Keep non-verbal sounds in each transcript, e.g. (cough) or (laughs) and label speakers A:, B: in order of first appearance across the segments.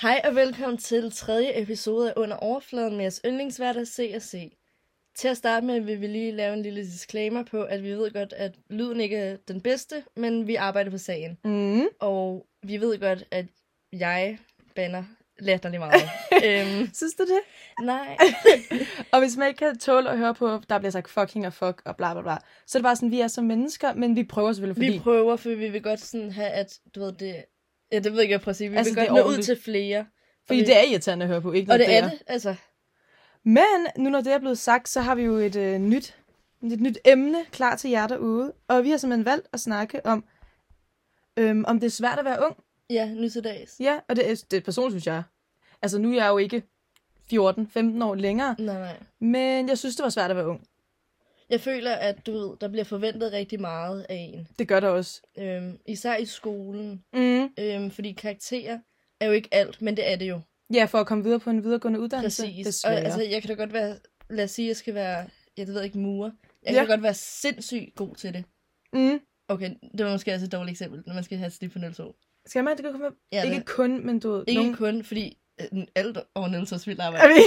A: Hej og velkommen til tredje episode af Under Overfladen med jeres yndlingsværter C og C. Til at starte med vil vi lige lave en lille disclaimer på, at vi ved godt, at lyden ikke er den bedste, men vi arbejder på sagen.
B: Mm.
A: Og vi ved godt, at jeg banner latterlig
B: (laughs)
A: meget. øhm,
B: Synes du det?
A: nej.
B: Og hvis man ikke kan tåle at høre på, der bliver sagt fucking og fuck og bla bla bla, så er det bare sådan, vi er som mennesker, men vi prøver selvfølgelig, fordi...
A: Vi prøver, for vi vil godt sådan have, at du ved det... Ja, det ved jeg ikke, jeg prøver at sige. Vi
B: Altså,
A: altså, vil
B: det er
A: godt nå ud
B: ordentligt.
A: til flere.
B: fordi
A: vi-
B: det er irriterende at høre på, ikke?
A: Og
B: noget
A: det er
B: der.
A: det, altså.
B: Men nu når det er blevet sagt, så har vi jo et øh, nyt et nyt emne klar til jer derude. Og vi har simpelthen valgt at snakke om, øhm, om det er svært at være ung.
A: Ja, nu til dags.
B: Ja, og det er, det er personligt, synes jeg. Altså, nu er jeg jo ikke 14-15 år længere,
A: Nej, nej.
B: men jeg synes, det var svært at være ung.
A: Jeg føler, at du ved, der bliver forventet rigtig meget af en.
B: Det gør det også.
A: Øhm, især i skolen.
B: Mm.
A: Øhm, fordi karakterer er jo ikke alt, men det er det jo.
B: Ja, for at komme videre på en videregående uddannelse.
A: Præcis. Og,
B: desværre.
A: altså, jeg kan da godt være... Lad os sige, jeg skal være... Jeg ved ikke, murer. Jeg
B: Ja.
A: kan ja. godt være sindssygt god til det.
B: mm.
A: Okay, det var måske også et dårligt eksempel, når man skal have et snit på 0,2.
B: Skal man det kan komme
A: Ja,
B: ja,
A: det-
B: Ikke kun, men du ved,
A: Ikke
B: nogen...
A: Nogen... kun, fordi øh, alt over Niels vildt
B: Jeg
A: arbejde.
B: ved- (laughs)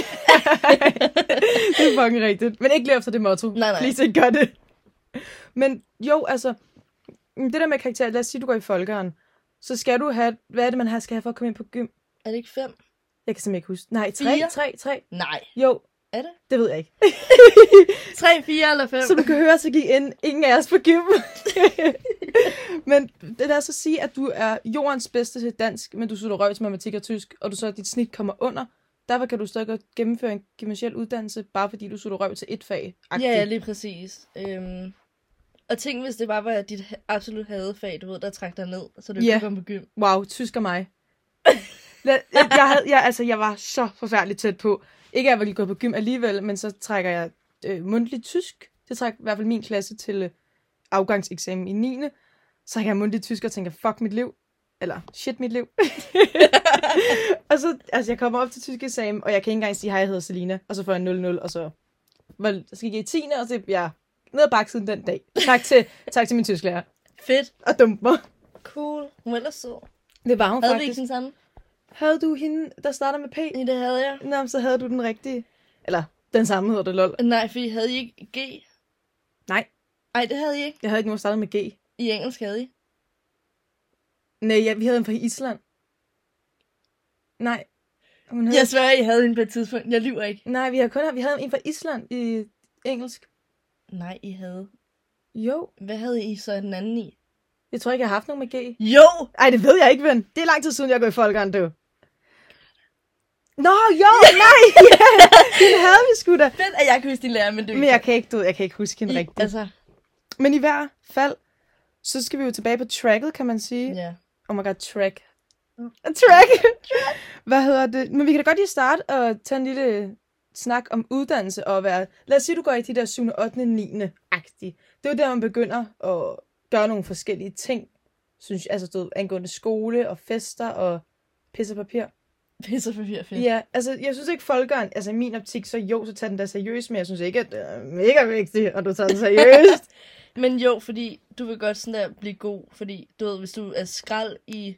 B: det er fucking rigtigt. Men ikke lige efter det motto.
A: Nej, nej.
B: Please ikke gør det. Men jo, altså, det der med karakter, lad os sige, du går i folkeren, så skal du have, hvad er det, man har, skal have for at komme ind på gym?
A: (laughs) Er det ikke fem?
B: Jeg kan simpelthen ikke huske. Nej, tre,
A: Fire?
B: tre, tre.
A: Nej.
B: Jo,
A: Er det?
B: det ved jeg ikke.
A: 3, 4 eller 5?
B: Som du kan høre, så gik ind, ingen af os på
A: (laughs)
B: gym. men det er så at sige, at du er jordens bedste til dansk, men du slutter røv til matematik og tysk, og du så dit snit kommer under. Derfor kan du stadig godt gennemføre en gymnasiel uddannelse, bare fordi du slutter røv til et fag.
A: Ja, lige præcis. Øhm, og tænk, hvis det bare var dit ha- absolut hadefag, du ved, der trak dig ned, så du ikke
B: Ja.
A: kunne komme på gym.
B: Wow, tysk og mig. jeg, jeg, jeg, havde, jeg, altså, jeg var så forfærdeligt tæt på. Ikke at jeg ville gå på gym alligevel, men så trækker jeg øh, mundtligt tysk. Det trækker i hvert fald min klasse til øh, afgangseksamen i 9. Så trækker jeg mundtligt tysk og tænker, fuck mit liv. Eller shit mit liv. (laughs) og så, altså jeg kommer op til tysk eksamen, og jeg kan ikke engang sige, hej, jeg hedder Selina. Og så får jeg 0-0, og så, var, så gik jeg i 10. og så blev jeg ned ad bakke siden den dag. Tak til, tak til min tysklærer.
A: Fedt.
B: Og dumper.
A: Cool. Hun var ellers sød.
B: Det var hun
A: Havde vi
B: faktisk.
A: ikke den samme?
B: Havde du hende, der starter med P?
A: I det havde jeg.
B: Nå, men så havde du den rigtige. Eller, den samme hedder det, lol.
A: Nej, fordi havde I ikke G?
B: Nej,
A: Nej, det havde I ikke.
B: jeg havde ikke nogen startet med G.
A: I engelsk havde I.
B: Nej, ja, vi havde en fra Island. Nej. Hun havde...
A: Jeg svær, I havde hende på et tidspunkt. Jeg lyver ikke.
B: Nej, vi havde kun vi havde en fra Island i engelsk.
A: Nej, I havde.
B: Jo,
A: Hvad havde I så den anden i?
B: jeg tror ikke, jeg har haft nogen med G.
A: Jo!
B: Ej, det ved jeg ikke, ven. Det er lang tid siden, jeg går i folkeren, du. Nå, jo, (laughs) nej! Ja, den havde vi sgu da.
A: Fedt, at jeg kan huske din lærer, men du
B: Men jeg kan ikke, du, ved, jeg kan ikke huske hende
A: I,
B: rigtigt.
A: Altså,
B: Men i hver fald, så skal vi jo tilbage på tracket, kan man sige.
A: ja.
B: Oh my god, track. Track. Hvad hedder det? Men vi kan da godt lige starte og tage en lille snak om uddannelse og være... Lad os sige, du går i de der 7. 8. 9. agtige. Det er jo der, man begynder at gøre nogle forskellige ting. Synes jeg, altså du ved, angående skole og fester og pisse og papir.
A: Pisse for fyr, fedt.
B: Ja, altså jeg synes ikke folkeren, altså i min optik, så jo, så tager den der seriøst, men jeg synes ikke, at det er mega vigtigt, at du tager den seriøst.
A: Men jo, fordi du vil godt sådan der blive god, fordi du ved, hvis du er skrald i,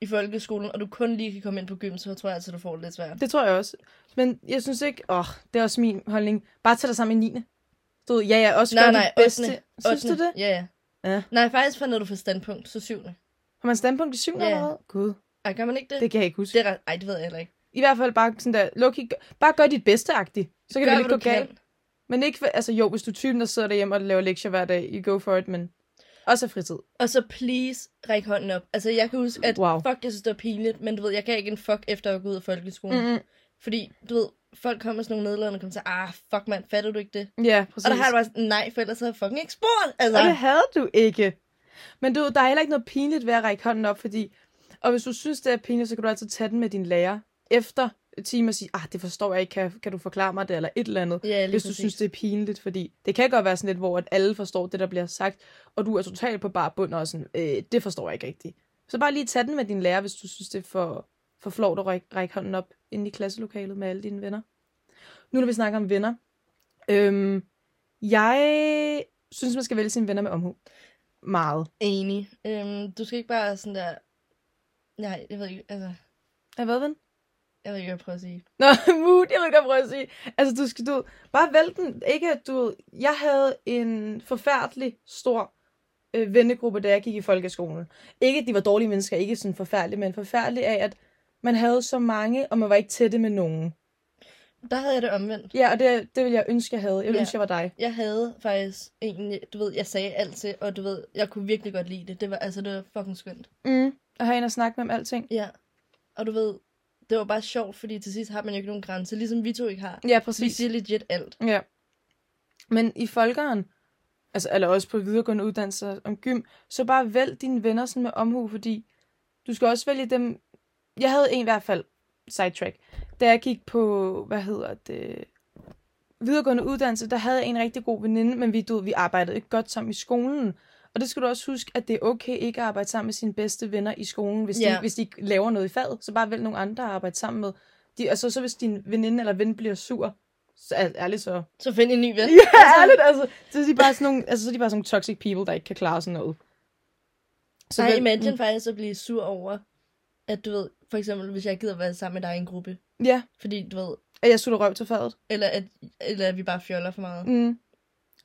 A: i folkeskolen, og du kun lige kan komme ind på gym, så tror jeg altså, du får det lidt svært.
B: Det tror jeg også. Men jeg synes ikke, åh, oh, det er også min holdning. Bare tag dig sammen i 9. Du ved, ja, ja, også
A: Nej,
B: gør
A: nej,
B: det bedste.
A: 8.
B: Synes du det?
A: Ja, ja.
B: Ja.
A: Nej, faktisk fandt du for standpunkt, så syvende.
B: Har man standpunkt i 7.
A: Ja.
B: Yeah. allerede? Gud,
A: Ej, gør man ikke det?
B: det kan jeg ikke huske.
A: det er ret... Ej, det ved jeg heller ikke.
B: I hvert fald bare sådan der, Loki, gør- bare gør dit bedste -agtigt. Så kan det
A: hvad
B: ikke gå
A: du kan.
B: galt. Men ikke, for- altså jo, hvis du er typen, der sidder derhjemme og laver lektier hver dag, you go for it, men også af fritid.
A: Og så please, ræk hånden op. Altså, jeg kan huske, at
B: Wow.
A: fuck, jeg synes, det var pinligt, men du ved, jeg kan ikke en fuck efter at gå ud af folkeskolen.
B: Mm-hmm.
A: Fordi, du ved, folk kommer sådan nogle nedladende og kommer til, ah, fuck mand, fatter du ikke det?
B: Ja, præcis.
A: Og der har jeg bare sådan, nej, for ellers havde jeg fucking ikke spurgt. Altså,
B: Og det havde du ikke. Men du, ved, der er heller ikke noget pinligt ved at række hånden op, fordi... Og hvis du synes, det er pinligt, så kan du altid tage den med din lærer efter timer og sige, ah, det forstår jeg ikke, kan, kan du forklare mig det, eller et eller andet.
A: ja, lige
B: hvis du
A: præcis.
B: synes, det er pinligt, fordi det kan godt være sådan lidt, hvor at alle forstår det, der bliver sagt, og du er totalt på bare bund og er sådan, øh, det forstår jeg ikke rigtigt. Så bare lige tage den med din lærer, hvis du synes, det er for, for flot at række, række hånden op inde i klasselokalet med alle dine venner. Nu når vi snakker om venner. Øhm, jeg synes, man skal vælge sine venner med omhu. Meget.
A: Enig. Øhm, du skal ikke bare sådan der... Nej, jeg ved ikke, altså...
B: Er hvad, ven?
A: Jeg ved ikke, hvad jeg prøver at sige.
B: (laughs) Nå, mood, jeg vil godt prøve at sige. Altså, du skal, du ved, bare vælge den. Ikke, at du ved, jeg havde en forfærdelig stor øh, vennegruppe, da jeg gik i folkeskolen. Ikke, at de var dårlige mennesker, ikke sådan forfærdelige, men forfærdelig af, at man havde så mange, og man var ikke tætte med nogen.
A: Der havde jeg det omvendt.
B: Ja, og det, det ville jeg ønske, jeg havde. Jeg ville
A: Ja.
B: ja. ønske, jeg var dig.
A: Jeg havde faktisk egentlig, du ved, jeg sagde alt til, og du ved, jeg kunne virkelig godt lide det. Det var, altså, det var fucking skønt.
B: Mm. Og have en at snakke med om alting.
A: Ja. Og du ved, det var bare sjovt, fordi til sidst har man jo ikke nogen grænse, ligesom vi to ikke har.
B: Ja,
A: Vi
B: præcis.
A: siger legit alt.
B: Ja. Men i folkeren, altså, eller også på videregående uddannelser om gym, så bare vælg dine venner sådan med omhu, fordi du skal også vælge dem... Jeg havde en i hvert fald, sidetrack, da jeg gik på, hvad hedder det, videregående uddannelse, der havde jeg en rigtig god veninde, men vi, du, ved, vi arbejdede ikke godt sammen i skolen. Og det skal du også huske, at det er okay ikke at arbejde sammen med sine bedste venner i skolen, hvis,
A: Ja.
B: de, hvis de ikke laver noget i faget. Så bare vælg nogle andre at arbejde sammen med. De, altså, så hvis din veninde eller ven bliver sur, så er, ærligt så
A: Så find en ny ven.
B: (laughs) Ja, altså, ærligt, altså. Så er de bare sådan nogle, altså, så er de bare sådan nogle toxic people, der ikke kan klare sådan noget.
A: Så Nej,
B: vel-
A: imagine mm. faktisk at blive sur over, at du ved, for eksempel, hvis jeg gider være sammen med dig i en gruppe,
B: Mm, Ja,
A: fordi du ved,
B: at jeg sutter røv til fadet.
A: eller at, eller at vi bare fjoller for meget.
B: Mm.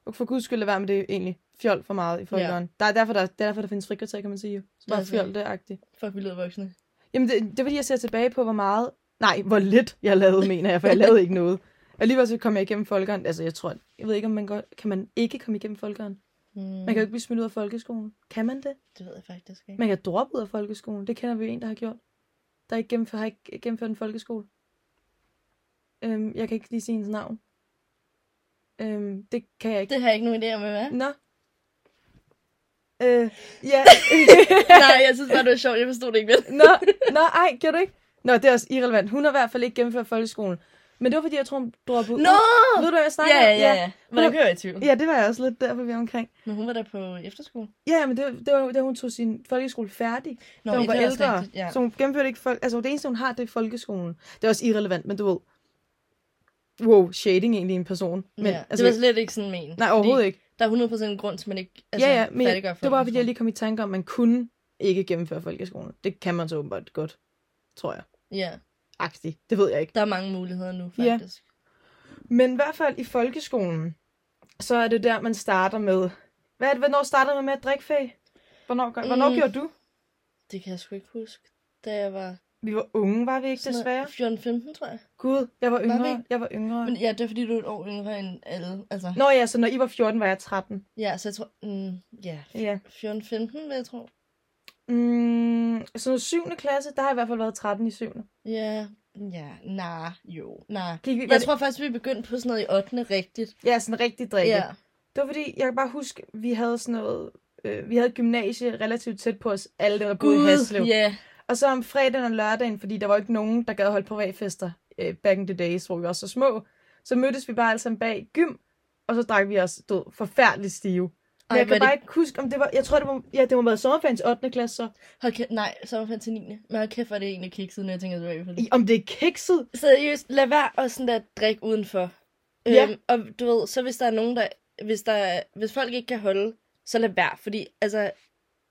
B: Og for guds skyld, lad være med det egentlig. Fjol for meget i folkeren. Ja. Der er derfor, der, det er derfor, der findes frikvarter, kan man sige. Så bare
A: Ja,
B: fjol
A: selvfølgelig.
B: det agtigt.
A: Fuck, vi lyder voksne.
B: Jamen, det, det er fordi, jeg ser tilbage på, hvor meget... Nej, hvor lidt jeg lavede, mener jeg, for jeg lavede ikke noget. Alligevel så kom jeg igennem folkeren. Altså, jeg tror, jeg ved ikke, om man godt... Kan man ikke komme igennem folkeren?
A: Mm.
B: Man kan jo ikke blive smidt ud af folkeskolen. Kan man det?
A: Det ved jeg faktisk ikke.
B: Man kan droppe ud af folkeskolen. Det kender vi jo en, der har gjort. Der ikke gennemført, har ikke gennemført en folkeskole. Øhm, jeg kan ikke lige sige hendes navn. Øhm, det kan jeg ikke.
A: Det har jeg ikke nogen idé om, hvad
B: (laughs)
A: det er.
B: Nå. Øh, ja. (laughs)
A: Nej, jeg synes bare, det var sjovt. Jeg forstod det ikke vel.
B: Nå, nå, ej, gjorde du ikke? Nå, det er også irrelevant. Hun har i hvert fald ikke gennemført folkeskolen. Men det var, fordi jeg tror, hun droppede ud.
A: Nå!
B: Ved du, hvad jeg snakker
A: Ja, ja,
B: om?
A: ja. ja. Men det
B: Hun-
A: kører jeg i tvivl.
B: Ja, det var jeg også lidt derfor, vi er omkring.
A: Men hun var der på efterskole.
B: Ja, men det, var- det var, da hun tog sin folkeskole færdig. Nå, da hun
A: ja,
B: var
A: det er også
B: ældre.
A: rigtigt, Ja.
B: Så hun gennemførte ikke folk... Altså, det eneste, hun har, det er folkeskolen. Det er også irrelevant, men du ved... Wow, shading egentlig en person. Men,
A: Men, ja.
B: altså,
A: Altså, det var slet ikke sådan men.
B: nej, overhovedet
A: fordi
B: ikke.
A: Der er 100% en grund til, at man ikke altså,
B: Altså, ja, ja, men jeg,
A: færdiggør
B: det var bare, fordi jeg lige kom i tanke om, at man kunne ikke gennemføre folkeskolen. Det kan man så åbenbart godt, tror jeg.
A: Ja,
B: Agtigt. Det ved jeg ikke.
A: der er mange muligheder nu,
B: Ja.
A: faktisk.
B: Men i hvert fald i folkeskolen, så er det der, man starter med... Hvad er det, hvornår startede man med at drikke fag? Hvornår, gør, hvornår
A: Mm.
B: gjorde du?
A: Det kan jeg sgu ikke huske, da jeg var
B: Vi var unge, var vi ikke desværre?
A: 14-15, tror jeg.
B: Gud, jeg var
A: vi
B: yngre.
A: ikke?
B: jeg var yngre.
A: Men ja, det er fordi, du er et år yngre end alle. Altså,
B: Nå ja, så når I var 14, var jeg 13.
A: ja, så jeg tror... Mm, ja,
B: Ja.
A: 14-15, vil jeg tro.
B: Mm, så noget 7. klasse, der har jeg i hvert fald været 13 i 7.
A: Ja, ja, nej, jo, nej.
B: Gik vi,
A: Jeg tror faktisk, vi begyndte på sådan noget i 8. rigtigt.
B: Ja, sådan rigtig drikke.
A: Ja,
B: Det var fordi, jeg kan bare huske, vi havde sådan noget... Øh, vi havde gymnasie relativt tæt på os, alle der var boede i Haslev.
A: ja.
B: Og så om fredagen og lørdagen, fordi der var ikke nogen, der gad holde privatfester øh, back in the days, hvor vi var så små, så mødtes vi bare alle sammen bag gym, og så drak vi os død forfærdeligt stive. Men
A: Ej,
B: jeg
A: hvor
B: kan
A: er
B: bare ikke huske, om det var... Jeg tror, det var, ja, det må have været sommerfans 8. klasse, så.
A: Hold kæft, nej, sommerferien til 9. Men hold kæft, hvor er det egentlig kikset, når jeg tænker tilbage på det.
B: I- Om det er kikset?
A: Seriøst, lad være at sådan der drikke udenfor.
B: Ja.
A: Øhm, og du ved, så hvis der er nogen, der... Hvis, der, er- hvis folk ikke kan holde, så lad være. Fordi, altså,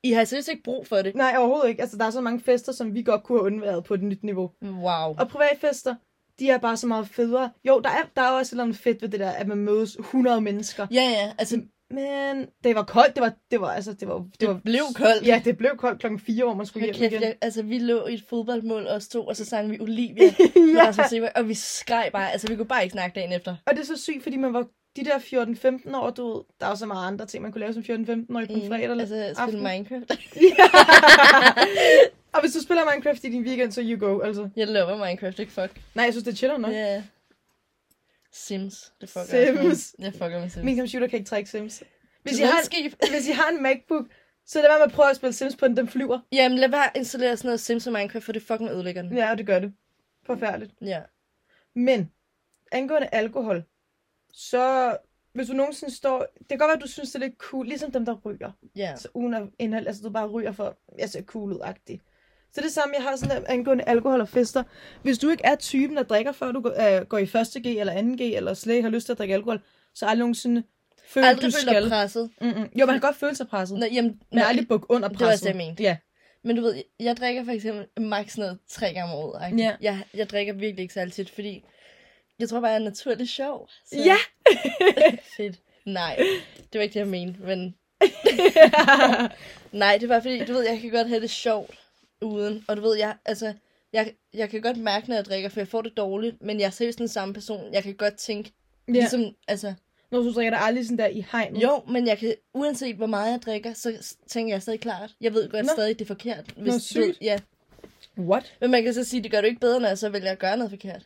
A: I har seriøst ikke brug for det.
B: Nej, overhovedet ikke. Altså, der er så mange fester, som vi godt kunne have undværet på et nyt niveau.
A: Wow.
B: Og privatfester, de er bare så meget federe. Jo, der er, der er også et eller andet fedt ved det der, at man mødes 100 mennesker.
A: Ja, ja, altså,
B: Mm. Men det var koldt, det var, det var, altså, det var, det,
A: det
B: var,
A: blev koldt.
B: Ja, det blev koldt klokken 4, hvor man skulle
A: Hold
B: hjem
A: kæft,
B: igen.
A: jeg, altså, vi lå i et fodboldmål os to, og så sang vi Olivia (laughs) med
B: (laughs) ja.
A: Rasmus Seberg, og vi skreg bare. Altså, vi kunne bare ikke snakke dagen efter.
B: altså, Og det er så sygt, fordi man var de der 14-15 år, du ved, der er jo så mange andre ting, man kunne lave som 14-15-årig på en fredag. Eller...
A: altså, spille
B: aften.
A: Minecraft.
B: (laughs)
A: (laughs)
B: Og hvis du spiller Minecraft i din weekend, så you go, altså.
A: jeg lover Minecraft, ikke fuck.
B: Nej, jeg synes, det er chiller nok.
A: Ja.
B: Yeah.
A: Yeah. Sims. Det fucker jeg også med.
B: Sims.
A: Jeg fucker med Sims.
B: Min computer kan ikke trække Sims. Hvis
A: Det
B: I,
A: er
B: har
A: skib.
B: en, hvis I har en MacBook, så lad være med at prøve at spille Sims på den, den flyver.
A: Jamen, lad være at installere sådan noget Sims og Minecraft, for det fucking ødelægger den.
B: Ja, og det gør det. Forfærdeligt.
A: Ja.
B: Men, angående alkohol, så hvis du nogensinde står... Det kan godt være, at du synes, det er lidt cool, ligesom dem, der ryger.
A: Ja.
B: Så uden at indhold, altså du bare ryger for, jeg ser cool ud -agtig. Så det samme, jeg har sådan der angående alkohol og fester. Hvis du ikke er typen, der drikker, før du går, øh, går i 1.G eller 2.G, eller slet ikke har lyst til at drikke alkohol, så aldrig nogensinde føler,
A: Aldrig
B: du
A: føler
B: skal.
A: presset.
B: Mm-mm. Jo, man kan godt føle sig presset.
A: Nå,
B: Nej,
A: jamen,
B: men
A: nej.
B: aldrig bukke under
A: Det
B: presset.
A: var også det, jeg mente.
B: Ja.
A: Men du ved, jeg drikker for eksempel max noget tre gange om året. agtigt.
B: Ja.
A: Jeg, jeg drikker virkelig ikke særlig tit, fordi jeg tror bare, jeg er naturligt sjov. Så
B: Ja!
A: (laughs) fedt. Nej, det var ikke det, jeg mente, men Nej, det er bare fordi, du ved, jeg kan godt have det sjovt uden. Og du ved, jeg, altså, jeg, jeg kan godt mærke, når jeg drikker, for jeg får det dårligt. Men jeg er seriøst den samme person. Jeg kan godt tænke, (laughs) ja.
B: ja.
A: ligesom, altså,
B: Når du drikker dig aldrig sådan der i hegnet.
A: jo, men jeg kan, uanset hvor meget jeg drikker, så s- tænker jeg stadig klart. Jeg ved godt
B: Nå.
A: Nå. stadig, det er forkert. Hvis,
B: Nå,
A: du ved-
B: sygt.
A: ja.
B: What?
A: Men man kan så sige, det gør du ikke bedre, når jeg så vælger at gøre noget forkert.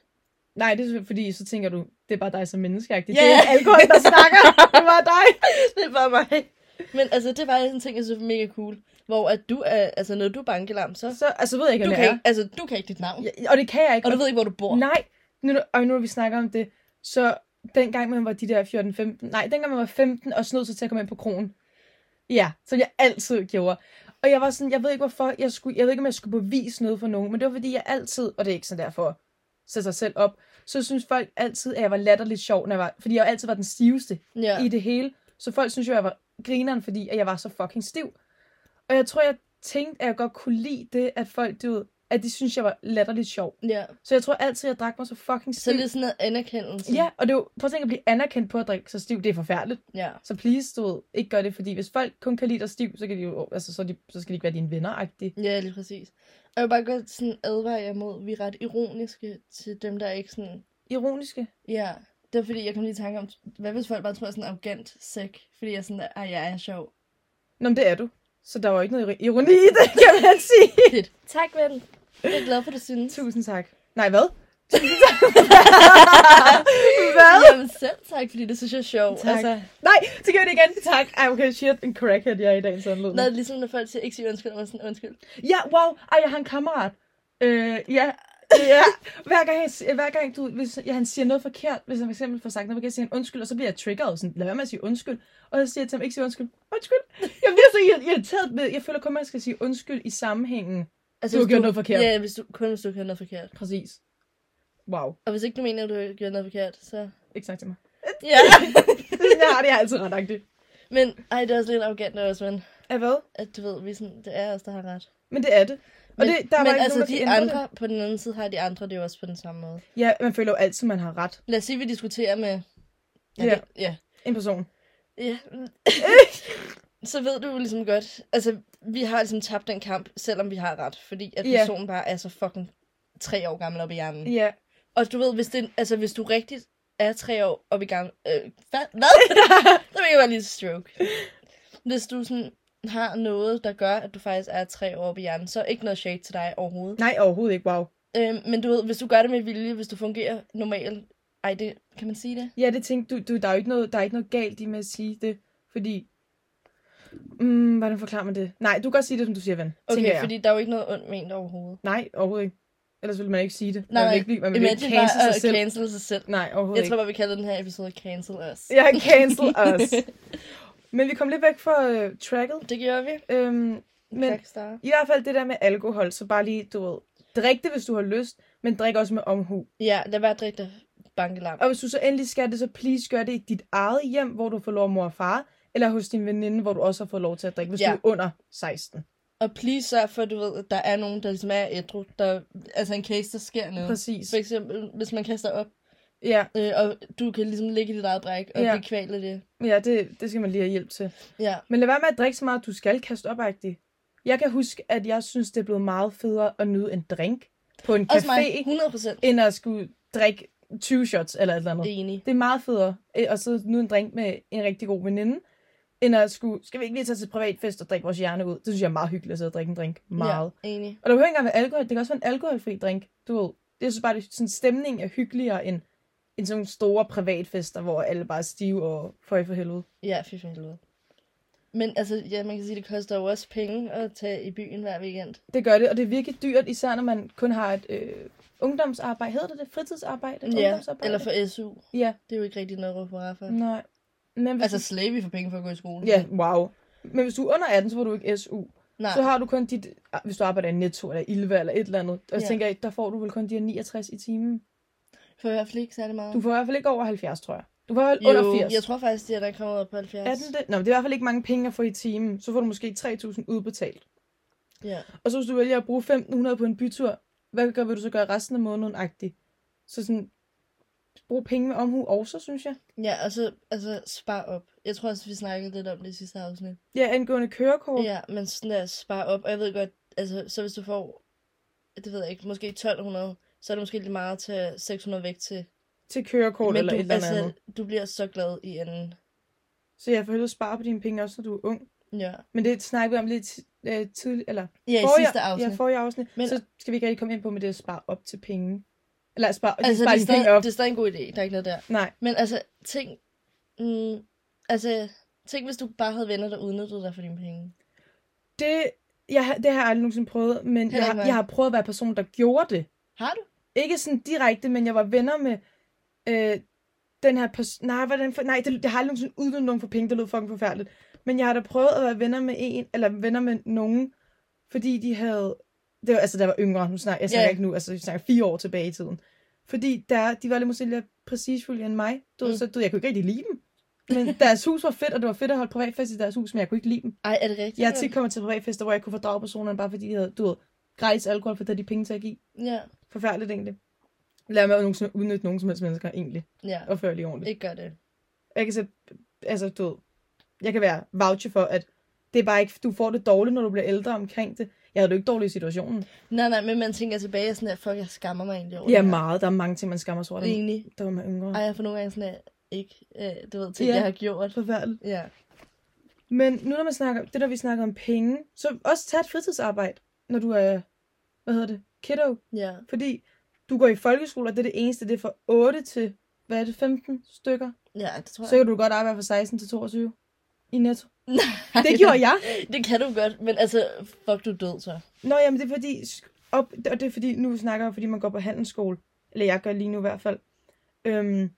B: Nej, det er selvfølgelig, fordi så tænker du, det er bare dig som menneskeagtig.
A: Ja,
B: Det er
A: ja.
B: alkohol, der
A: (laughs)
B: snakker. Det er bare dig.
A: det er bare mig. Men altså, det var en ting, jeg synes var mega cool. Hvor at du er, altså, når du er bankelam, så...
B: Så, altså, ved jeg ikke,
A: Du
B: hvad
A: kan,
B: det
A: ikke, altså, du kan ikke dit navn. Ja.
B: er. Ja, og det kan jeg ikke.
A: Og du ved ikke, hvor du bor.
B: Nej, nu, og nu når vi snakker om det, så dengang man var de der 14-15, nej, dengang man var 15 og snød sig til at komme ind på krogen. Ja, som jeg altid gjorde. Og jeg var sådan, jeg ved ikke hvorfor, jeg, skulle, jeg ved ikke om jeg skulle bevise noget for nogen, men det var fordi jeg altid, og det er ikke sådan derfor, sætte sig selv op, så synes folk altid, at jeg var latterligt sjov, når jeg var, fordi jeg altid var den stiveste
A: Ja.
B: i det hele. Så folk synes jo, at jeg var grineren, fordi at jeg var så fucking stiv. Og jeg tror, jeg tænkte, at jeg godt kunne lide det, at folk, du ved, at de synes, jeg var latterligt sjov.
A: ja.
B: Så jeg tror altid, jeg drak mig så fucking
A: Så
B: stiv.
A: lidt sådan noget anerkendelse.
B: Ja, og det er jo, prøv at tænke at blive anerkendt på at drikke så stiv, det er forfærdeligt.
A: ja.
B: Så please, du ved, ikke gør det, fordi hvis folk kun kan lide dig stiv, så, kan de jo, altså, så, er de, så skal de ikke være dine venner -agtige.
A: Ja, lige præcis. Og jeg vil bare godt sådan advare jer mod, at vi er ret ironiske til dem, der ikke sådan...
B: Ironiske.
A: Ja, det er fordi, jeg kom lige i tanke om, hvad hvis folk bare tror, jeg er sådan en arrogant sæk? Fordi jeg er sådan, der, ej, jeg er (laughs) sjov.
B: Nå, men det er du. Så der var ikke noget iro- ironi i det, kan man sige.
A: Fedt. Tak, ven. Jeg er glad for, at du synes.
B: Tusind tak. Nej, hvad?
A: (laughs)
B: hvad?
A: Jamen selv tak, fordi det synes jeg er sjovt.
B: Tak. Altså, nej, så gør jeg det igen. Tak. Ej, okay, shit. En crackhead, jeg er i dagens anledning.
A: Når, ligesom når folk siger, ikke sige undskyld, og man er sådan, undskyld.
B: Ja, wow. Ej, jeg har en kammerat. Øh, ja. ja. Hver gang, han, hver gang du, hvis ja, han siger noget forkert, hvis han for eksempel får sagt noget forkert, siger han undskyld, og så bliver jeg triggeret. Sådan, lad være med at sige undskyld. Og så siger jeg til ham, ikke sige undskyld. Undskyld. Jeg bliver så irri- irriteret med, jeg føler kun, at man skal sige undskyld i sammenhængen.
A: Altså,
B: Du har
A: hvis
B: gjort noget forkert.
A: Ja, hvis du, kun hvis du har gjort noget forkert.
B: Præcis. Wow.
A: Og hvis ikke du mener, at du har gjort noget forkert, så...
B: Ikke snak til mig. (laughs)
A: Ja.
B: Det er sådan, jeg har det altså. jeg er altid ret agtigt.
A: Men ej, det er også lidt arrogant af os, men
B: Er hvad?
A: at du ved, vi er sådan, det er os, der har ret.
B: Men det er det. Og
A: Men,
B: det, der
A: men
B: var ikke
A: altså
B: nogen, der
A: de
B: kan ændre
A: andre, det. på den anden side har de andre det jo også på den samme måde.
B: Det. Ja, man føler jo altid, man har ret.
A: Lad os sige, at vi diskuterer med...
B: Ja.
A: Det, ja.
B: En person. (laughs)
A: ja. så ved du jo ligesom godt, altså vi har ligesom tabt den kamp, selvom vi har ret, fordi at
B: Ja.
A: personen bare er så fucking tre år gammel op i hjernen.
B: Ja.
A: Og du ved, hvis, det, altså, hvis du rigtigt er tre år op i gang... Øh, hvad?
B: (laughs)
A: hvad? Der vil jeg bare lige et stroke. Hvis du sådan har noget, der gør, at du faktisk er tre år op i hjernen, så ikke noget shade til dig overhovedet.
B: Nej, overhovedet ikke. Wow.
A: Øhm, men du ved, hvis du gør det med vilje, hvis du fungerer normalt, ej, det, kan man sige det?
B: Ja, det tænkte du, du der, er jo ikke noget, der er ikke noget galt i med at sige det, fordi... Mm, hvordan forklarer man det? Nej, du kan godt sige det, som du siger, ven.
A: Okay,
B: tænker jeg.
A: fordi der er jo ikke noget ondt ment overhovedet.
B: Nej, overhovedet ikke. Ellers ville man ikke sige det.
A: Nej,
B: man
A: nej.
B: vil ikke, blive- man vil ikke
A: Imagine bare
B: cancel sig
A: at
B: selv.
A: cancel sig selv.
B: Nej, overhovedet
A: Jeg
B: ikke.
A: tror bare, vi kalder den her episode Cancel Us.
B: Jeg har cancel
A: (laughs)
B: os. Men vi kom lidt væk fra øh, tracket.
A: Det gjorde vi.
B: Øhm, men
A: Tak, Star.
B: i hvert fald det der med alkohol, så bare lige, du ved, drik det, hvis du har lyst, men drik også med omhu.
A: Ja, lad være at drikke dig bankelam.
B: Og hvis du så endelig skal det, så please gør det i dit eget hjem, hvor du får lov af mor og far, eller hos din veninde, hvor du også har fået lov til at drikke, hvis
A: Ja.
B: ja. du er under 16.
A: Og please sørg for, at du ved, at der er nogen, der ligesom er ædru. Der, altså en case, der sker noget.
B: Præcis.
A: For eksempel, hvis man kaster op,
B: Ja,
A: øh, og du kan ligesom ligge i dit eget bræk, og
B: Ja.
A: ja. blive kvalt af det.
B: ja det, det skal man lige have hjælp til.
A: Ja.
B: Men lad være med at drikke så meget, du skal kaste op -agtigt. Jeg kan huske, at jeg synes, det er blevet meget federe at nyde en drink på en
A: Også mig,
B: café,
A: 100 procent
B: end at skulle drikke 20 shots eller et eller andet.
A: enig.
B: Det er meget federe øh, at sidde og nyde en drink med en rigtig god veninde, end at skulle, skal vi ikke lige tage til privatfest og drikke vores hjerne ud? Det synes jeg er meget hyggeligt at sidde og drikke en drink. Meget.
A: Ja, enig.
B: Og der behøver ikke engang være alkohol. Det kan også være en alkoholfri drink. Du ved, det synes bare, at sådan, stemningen er hyggeligere end, end sådan nogle store privatfester, hvor alle bare er stive og føj for helvede.
A: Ja, fy for helvede. Men altså, ja, man kan sige, det koster jo også penge at tage i byen hver weekend.
B: Det gør det, og det er virkelig dyrt, især når man kun har et øh, ungdomsarbejde. Hedder det det? Fritidsarbejde?
A: Ja,
B: ungdomsarbejde?
A: eller for SU.
B: Ja,
A: Det er jo ikke rigtig noget at råbe for.
B: nej. Men hvis
A: Altså,
B: du...
A: slave vi for penge for at gå i skole.
B: Mm. Ja, wow. Men hvis du er under 18, så får du ikke SU.
A: Nej,
B: Så har du kun dit... Hvis du arbejder i Netto eller Ilva eller et eller andet, og
A: Ja.
B: så tænker jeg, der får du vel kun de her 69 i timen.
A: for i hvert fald ikke særlig meget.
B: Du får i hvert fald ikke over 70, tror jeg. Du får i hvert fald under 80.
A: jeg tror faktisk, det er, der kommer op på 70.
B: 18. Nå, men det er i hvert fald ikke mange penge at få i timen. Så får du måske 3.000 udbetalt.
A: Ja.
B: Og så hvis du vælger at bruge 1.500 på en bytur, hvad gør, vil du så gøre resten af måneden agtig? Så sådan, bruge penge med omhu også, synes jeg.
A: ja, og så altså, spar op. Jeg tror også, vi snakkede lidt om det i sidste afsnit.
B: Ja, angående kørekort.
A: Ja, men sådan der, spar op. Og jeg ved godt, altså, så hvis du får, det ved jeg ikke, måske 1200, så er det måske lidt meget at tage 600 væk til.
B: til kørekort eller
A: du, altså-
B: et eller andet. andet.
A: du bliver så glad i enden.
B: Så jeg for helvede spare på dine penge også, når du er ung.
A: Ja,
B: Men det snakker vi om lidt øh, tidligt, eller
A: ja i
B: forrige-
A: sidste afsnit.
B: Ja, forrige afsnit. Men...
A: Men-
B: Så skal vi ikke rigtig komme ind på med det at spare op til penge. Eller spare, altså,
A: altså,
B: spare
A: det er,
B: dine penge
A: stadig,
B: op.
A: det er stadig en god idé. Der er ikke noget der.
B: Nej,
A: Men altså, tænk, mm, altså, tænk, hvis du bare havde venner, der udnyttede dig for dine penge.
B: det, jeg, har- det har jeg aldrig nogensinde prøvet, men
A: Heller
B: jeg, har-
A: ikke mig.
B: jeg har prøvet at være person, der gjorde det.
A: Har du?
B: Ikke sådan direkte, men jeg var venner med øh, den her person. Nej, hvordan for, nej det, jeg har aldrig nogensinde udnyttet nogen for penge, det lød fucking forfærdeligt. Men jeg har da prøvet at være venner med en, eller venner med nogen, fordi de havde... Det var, altså, der var yngre, nu snakker, jeg snakker
A: Ja.
B: ikke nu, altså jeg snakker fire år tilbage i tiden. Fordi der, de var lidt måske lidt præcisfulde end mig. Du, mm.
A: Mm.
B: så, du, ved, jeg kunne ikke rigtig lide dem. Men (laughs) deres hus var fedt, og det var fedt at holde privatfest i deres hus, men jeg kunne ikke lide dem.
A: Ej, er det rigtigt?
B: Jeg er tit kommet til privatfester, hvor jeg kunne fordrage personerne, bare fordi de havde, du ved, gratis alkohol, for det havde de penge til at give.
A: Ja,
B: Forfærdeligt egentlig. Lad mig nogensinde udnytte nogen som helst mennesker egentlig.
A: ja.
B: Og føre lige ordentligt.
A: Ikke gør det.
B: Jeg kan så, altså du ved, jeg kan være voucher for, at det er bare ikke, du får det dårligt, når du bliver ældre omkring det. Jeg havde det jo ikke dårligt i situationen.
A: Nej, nej, men man tænker tilbage og sådan her, fuck, jeg skammer mig egentlig over
B: Ja,
A: det her.
B: meget. Der er mange ting, man skammer sig over. Der
A: Egentlig.
B: der var man yngre.
A: Ej, jeg får nogle gange sådan her, ikke, øh, du ved, ting,
B: Ja.
A: jeg har gjort.
B: Forfærdeligt.
A: Ja.
B: Men nu når man snakker, det der vi snakker om penge, så også tag et fritidsarbejde, når du er, hvad hedder det, kiddo.
A: Ja.
B: Fordi du går i folkeskole, og det er det eneste, det er fra 8 til, hvad er det, 15 stykker.
A: Ja, det tror jeg.
B: Så kan du godt arbejde fra 16 til 22 i netto.
A: (laughs)
B: Det gjorde jeg.
A: Det kan du godt, men altså, fuck, du er død så.
B: Nå, jamen det er fordi, op, og det er fordi, nu snakker jeg, fordi man går på handelsskole, eller jeg gør lige nu i hvert fald, øhm,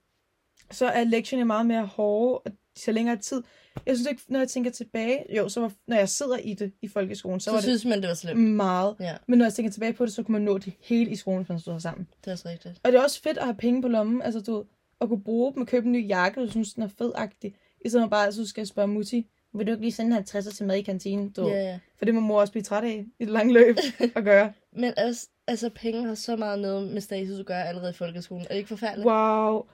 B: så er lektionerne meget mere hårde, og de tager længere tid. Jeg synes ikke, når jeg tænker tilbage, jo, så var, når jeg sidder i det i folkeskolen, så,
A: Så,
B: så var
A: synes man, det var
B: det
A: slemt.
B: meget.
A: Ja,
B: Men når jeg tænker tilbage på det, så kunne man nå det hele i skolen, hvis man stod sammen.
A: det er også rigtigt.
B: Og det er også fedt at have penge på lommen, altså du ved, at kunne bruge dem og købe en ny jakke, du synes, den er fedagtig, i stedet for bare, at du skal spørge Mutti, vil du ikke lige sende 50'er til mad i kantinen? Du?
A: Ja,
B: Yeah.
A: ja.
B: For det må mor også blive træt af i det lange
A: (laughs)
B: løb at gøre.
A: Men også, altså, penge har så meget noget med status at gøre allerede i folkeskolen. Er det ikke forfærdeligt?
B: Wow,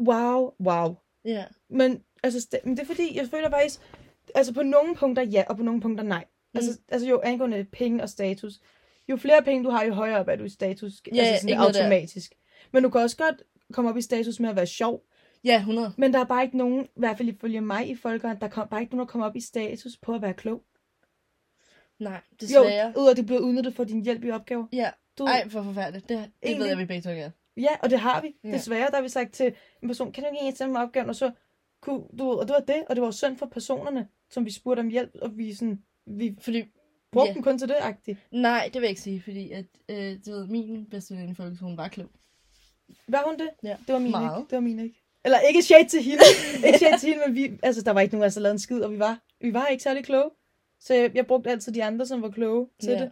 B: wow, wow.
A: Ja.
B: Men, altså, st- men det er fordi, jeg føler faktisk, altså på nogle punkter ja, og på nogle punkter nej. Mm. Altså, altså jo angående penge og status. Jo flere penge du har, jo højere op er du i status.
A: Ja,
B: altså sådan
A: ikke noget der.
B: automatisk. Men du kan også godt komme op i status med at være sjov.
A: Ja, 100.
B: Men der er bare ikke nogen, i hvert fald ifølge mig i folkeren, der kom, bare ikke nogen, der kommer op i status på at være klog.
A: Nej,
B: Jo,
A: desværre. Jo.
B: ud af at du bliver udnyttet for din hjælp i opgaver.
A: Ja,
B: Du,
A: ej, hvor forfærdeligt. Det, det ved
B: Egentlig-
A: jeg, vi begge to gør.
B: Ja, og det har vi.
A: Ja.
B: Desværre, der har vi sagt til en person, kan du ikke sende mig opgaven? Og så kunne du, og det var det, og det var jo synd for personerne, som vi spurgte om hjælp, og vi, sådan, vi
A: Fordi,
B: brugte
A: Ja.
B: dem kun til det, agtigt.
A: nej, det vil jeg ikke sige, fordi at, øh, du ved, min bedste veninde i folkeskolen var klog.
B: Var hun det?
A: Ja,
B: Det var min
A: meget.
B: ikke. Det var min ikke. Eller ikke shade til
A: (laughs)
B: hende. ikke shade til hende, men vi, altså, der var ikke nogen, af os, der lavede en skid, og vi var, vi var ikke særlig kloge. Så jeg, jeg brugte altid de andre, som var kloge til
A: Ja.
B: det.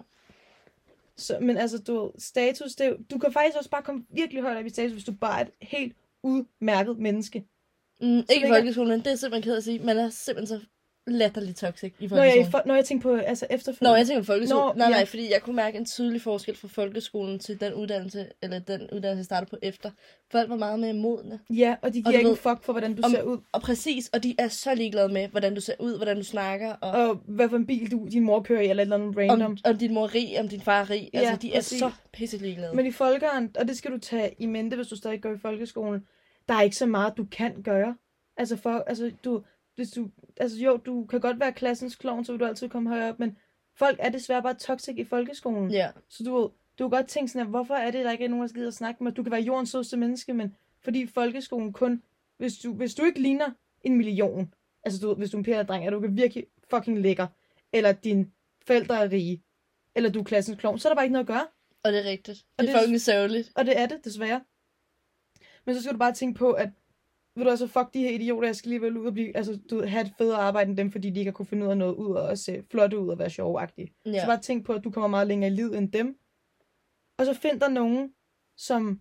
B: Så, men altså, du ved, status, det, er jo- du kan faktisk også bare komme virkelig højt op i status, hvis du bare er et helt udmærket menneske.
A: Mm, ikke i
B: ligger-
A: folkeskolen, men det er simpelthen ked at sige. Man er simpelthen så latterligt toxic i
B: Når jeg,
A: folkeskolen.
B: i fol- når jeg tænker på altså, efterfølgende.
A: Nå, jeg tænker på folkeskolen.
B: Nå,
A: Nå, nej,
B: ja.
A: nej, fordi jeg kunne mærke en tydelig forskel fra folkeskolen til den uddannelse, eller den uddannelse, jeg startede på efter. Folk var meget mere modne.
B: Ja, og de
A: Og
B: giver
A: du
B: ikke en
A: ved-
B: fuck for, hvordan du
A: Om-
B: ser ud,
A: Og præcis, og de er så ligeglade med, hvordan du ser ud, hvordan du snakker, og,
B: og hvad for en bil du, din mor kører i, eller et eller andet random.
A: om, om din mor er rig, om din far er rig.
B: Ja,
A: altså, de er
B: præcis.
A: så pisse ligeglade.
B: Men i folkeren, og det skal du tage i mente, hvis du stadig går i folkeskolen, der er ikke så meget, du kan gøre. Altså, for, altså, du, hvis du, altså jo, du kan godt være klassens klovn, så vil du altid komme højere op, men folk er desværre bare toxic i folkeskolen.
A: Ja,
B: Så du, ved, du kan godt tænke sådan, at hvorfor er det, der ikke er nogen, der gider at snakke med? Du kan være jordens sødeste menneske, men fordi folkeskolen kun, hvis du, hvis du ikke ligner en million, altså du, ved, hvis du er en pære dreng, og du kan virkelig fucking lækker, eller dine forældre er rige, eller du er klassens klovn, så er der bare ikke noget at gøre.
A: og det er rigtigt.
B: Og
A: Og det
B: det-
A: er fucking sørgeligt.
B: Og det er det, desværre. Men så skal du bare tænke på, at ved du altså, fuck de her idioter, jeg skal lige vel ud og blive, altså, du ved, have et federe arbejde end dem, fordi de ikke har kunne finde ud af noget ud og at se flotte ud og være sjovagtige. Ja.
A: Ja.
B: Så bare tænk på, at du kommer meget længere i livet end dem. Og så find dig nogen, som,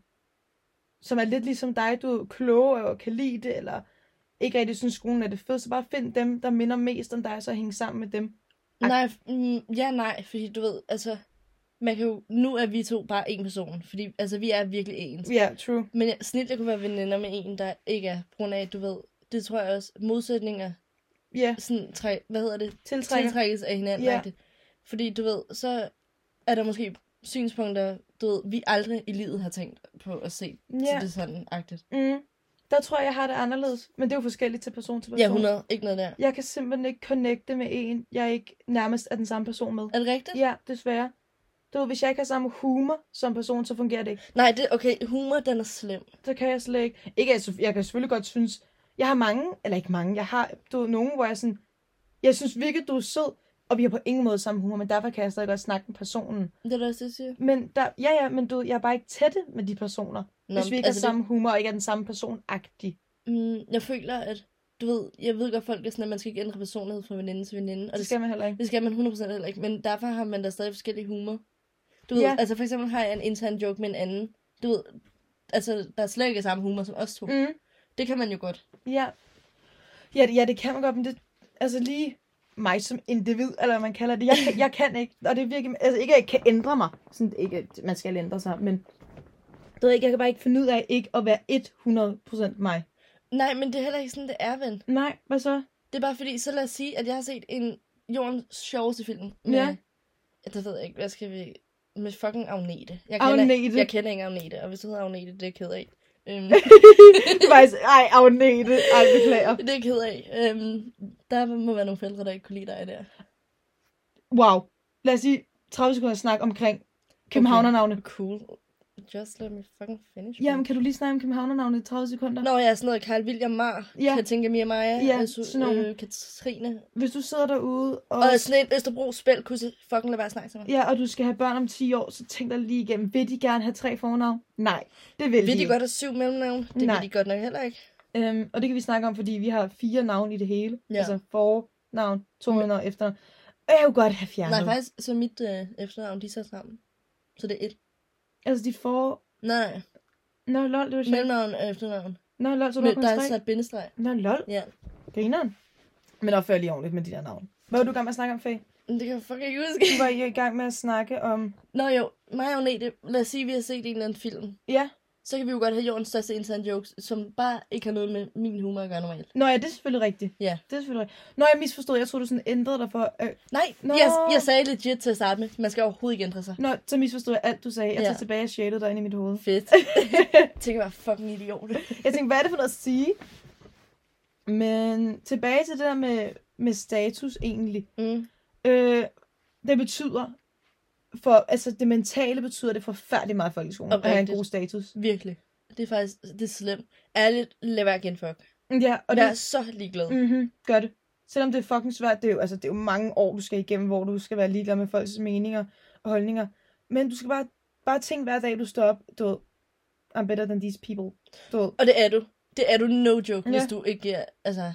B: som er lidt ligesom dig, du er kloge og kan lide det, eller ikke rigtig synes, skolen er det fed, så bare find dem, der minder mest om dig, og så hænge sammen med dem. Ak-
A: Nej, f- mm, ja nej, fordi du ved, altså, man kan jo, nu er vi to bare en person, fordi altså, vi er virkelig ens.
B: Ja, true.
A: Men jeg, snit, jeg kunne være veninder med en, der ikke er, på grund af, du ved, det tror jeg også, modsætninger,
B: Ja,
A: sådan, træ, hvad hedder det,
B: tiltrækker.
A: tiltrækkes af hinanden,
B: Ja.
A: ja. Fordi du ved, så er der måske synspunkter, du ved, vi aldrig i livet har tænkt på at se, ja. så
B: Ja.
A: det er sådan, agtigt.
B: Mm. Der tror jeg, jeg har det anderledes. Men det er jo forskelligt til person til person.
A: Ja, 100, ikke noget der.
B: Jeg kan simpelthen ikke connecte med en, jeg ikke nærmest er den samme person med.
A: Er det rigtigt?
B: Ja, desværre. Du ved, hvis jeg ikke har samme humor som person, så fungerer det ikke.
A: Nej, det, okay, humor, den er slem.
B: Så kan jeg slet ikke. Ikke, altså, jeg kan selvfølgelig godt synes, jeg har mange, eller ikke mange, jeg har du ved, nogen, hvor jeg sådan, jeg synes virkelig, du er sød, og vi har på ingen måde samme humor, men derfor kan jeg stadig godt snakke med personen.
A: Det er da også det, jeg siger.
B: Men der, ja, ja, men du ved, jeg er bare ikke tætte med de personer, Nå, hvis vi ikke altså har
A: det-
B: samme humor, og ikke er den samme person-agtig.
A: Mm, jeg føler, at du ved, jeg ved godt, folk er sådan, at man skal ikke ændre personlighed fra veninde til veninde. Og
B: Og det skal man heller ikke.
A: det skal man 100% heller ikke, men derfor har man da stadig forskellige humor. Du ved,
B: Ja.
A: ja. altså for eksempel har jeg en intern joke med en anden. Du ved, altså der er slet ikke er samme humor som os to. Mm.
B: Mm.
A: Det kan man jo godt.
B: Ja. Ja, det, ja, det kan man godt, men det altså lige mig som individ, eller hvad man kalder det. Jeg kan, jeg kan ikke, og det er virkelig, altså ikke, at jeg kan ændre mig. Sådan, ikke, at man skal ændre sig, men du ved ikke, jeg kan bare ikke finde ud af ikke at være 100% mig.
A: Nej, men det er heller ikke sådan, det er, ven.
B: Nej, hvad så?
A: Det er bare fordi, så lad os sige, at jeg har set en jordens sjoveste film. Med,
B: Ja.
A: Ja, det ved jeg ikke, hvad skal vi... Med fucking Agnete. Jeg
B: Agnete.
A: Jeg kender ikke Agnete, og hvis du hedder Agnete, det er jeg ked af. (laughs) Øhm.
B: Faktisk, ej, Agnete, (laughs) ej, beklager.
A: Det er jeg ked af. Øhm, der må være nogle forældre, der ikke kunne lide dig der.
B: Wow. Lad os lige 30 sekunder snak omkring københavnernavne.
A: Cool. Just let me fucking finish.
B: Jamen, kan du lige snakke om københavnernavne i 30 sekunder?
A: Nå, jeg er sådan noget Karl William Mar,
B: Ja.
A: ja. Katinka Mia Maja,
B: Ja,
A: ja, altså,
B: sådan nogle.
A: øh, Katrine.
B: Hvis du sidder derude og...
A: Og sådan en Østerbro spil, kunne fucking lade være at snakke til mig.
B: Ja, og du skal have børn om 10 år, så tænk dig lige igennem. Vil de gerne have tre fornavn? Nej, det vil,
A: Vil de
B: ikke.
A: godt have syv mellemnavn? Det
B: Nej.
A: vil de godt nok heller ikke.
B: Øhm, og det kan vi snakke om, fordi vi har fire navn i det hele. Ja.
A: Ja.
B: Altså fornavn, tonenavn, mm. efternavn. Og jeg kunne godt have fjernet.
A: Nej, faktisk, så mit øh, efternavn, de er sat sammen. Så det er et.
B: Altså de for...
A: Nej, nej.
B: Nå, lol, det var sjovt.
A: Mellemnavn og efternavn.
B: Nå, lol, så du
A: Men, der
B: har
A: er
B: sat...
A: sat bindestreg.
B: Nå, lol,
A: Ja.
B: grineren. Men opfør lige ordentligt med de der navne. Hvad var du i gang med at snakke om, Fag?
A: Men det kan jeg fucking ikke huske. (laughs)
B: Du var i gang med at snakke om...
A: Nå jo, mig og Agnete, lad os sige, at vi har set en eller anden film.
B: Ja.
A: så kan vi jo godt have jordens største interne jokes, som bare ikke har noget med min humor at gøre normalt.
B: Nå ja, det er selvfølgelig rigtigt.
A: Ja.
B: Det er selvfølgelig rigtigt. Nå, jeg misforstod. Jeg tror du sådan ændrede dig for... Øh...
A: Nej,
B: Nå.
A: no. jeg, jeg sagde legit til at starte med, man skal overhovedet ikke ændre sig.
B: Nå, så misforstod jeg alt, du sagde. Jeg
A: Ja.
B: tager tilbage og shadede dig ind i mit hoved. (laughs)
A: Fedt. Tænker mig, fucking idiot.
B: Jeg tænkte, hvad er det for noget at sige? Men tilbage til det der med, med status egentlig.
A: Mm.
B: Øh, det betyder, for, altså det mentale betyder det forfærdeligt meget i folkeskolen, at have en
A: Oprigtigt.
B: god status.
A: Virkelig. Det er faktisk, det er slemt. Ærligt, lad være igen, fuck.
B: Ja, og
A: Og
B: det,
A: jeg er så ligeglad. Mm.
B: mm-hmm, gør det. Selvom det er fucking svært, det er, jo, altså, det er jo mange år, du skal igennem, hvor du skal være ligeglad med folks meninger og holdninger. Men du skal bare, bare tænke hver dag, du står op, du ved, I'm better than these people. Du ved,
A: Og det er du. Det er du no joke,
B: Ja.
A: ja. hvis du ikke giver, altså,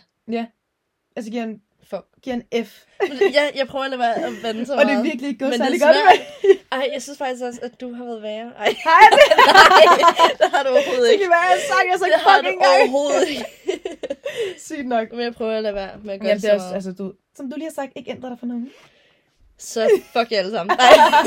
B: altså giver en,
A: fuck.
B: giver en F.
A: Jeg, jeg prøver at lade være at vande så
B: og det
A: meget.
B: er virkelig ikke gået
A: men det er
B: særlig godt.
A: svært.
B: (laughs)
A: Ej, jeg synes faktisk også, at du har været værre. Ej,
B: Hej, det
A: (laughs) nej, det har du overhovedet
B: Det
A: ikke.
B: kan være, jeg sang, jeg sang
A: Det har du
B: fucking gang.
A: overhovedet ikke.
B: Sygt nok.
A: Men jeg prøver at lade være med at gøre
B: Jamen, det er
A: så
B: også,
A: meget.
B: altså, du, som du lige har sagt, ikke ændre dig for nogen.
A: Så fuck jer alle sammen.
B: (laughs)
A: Nej,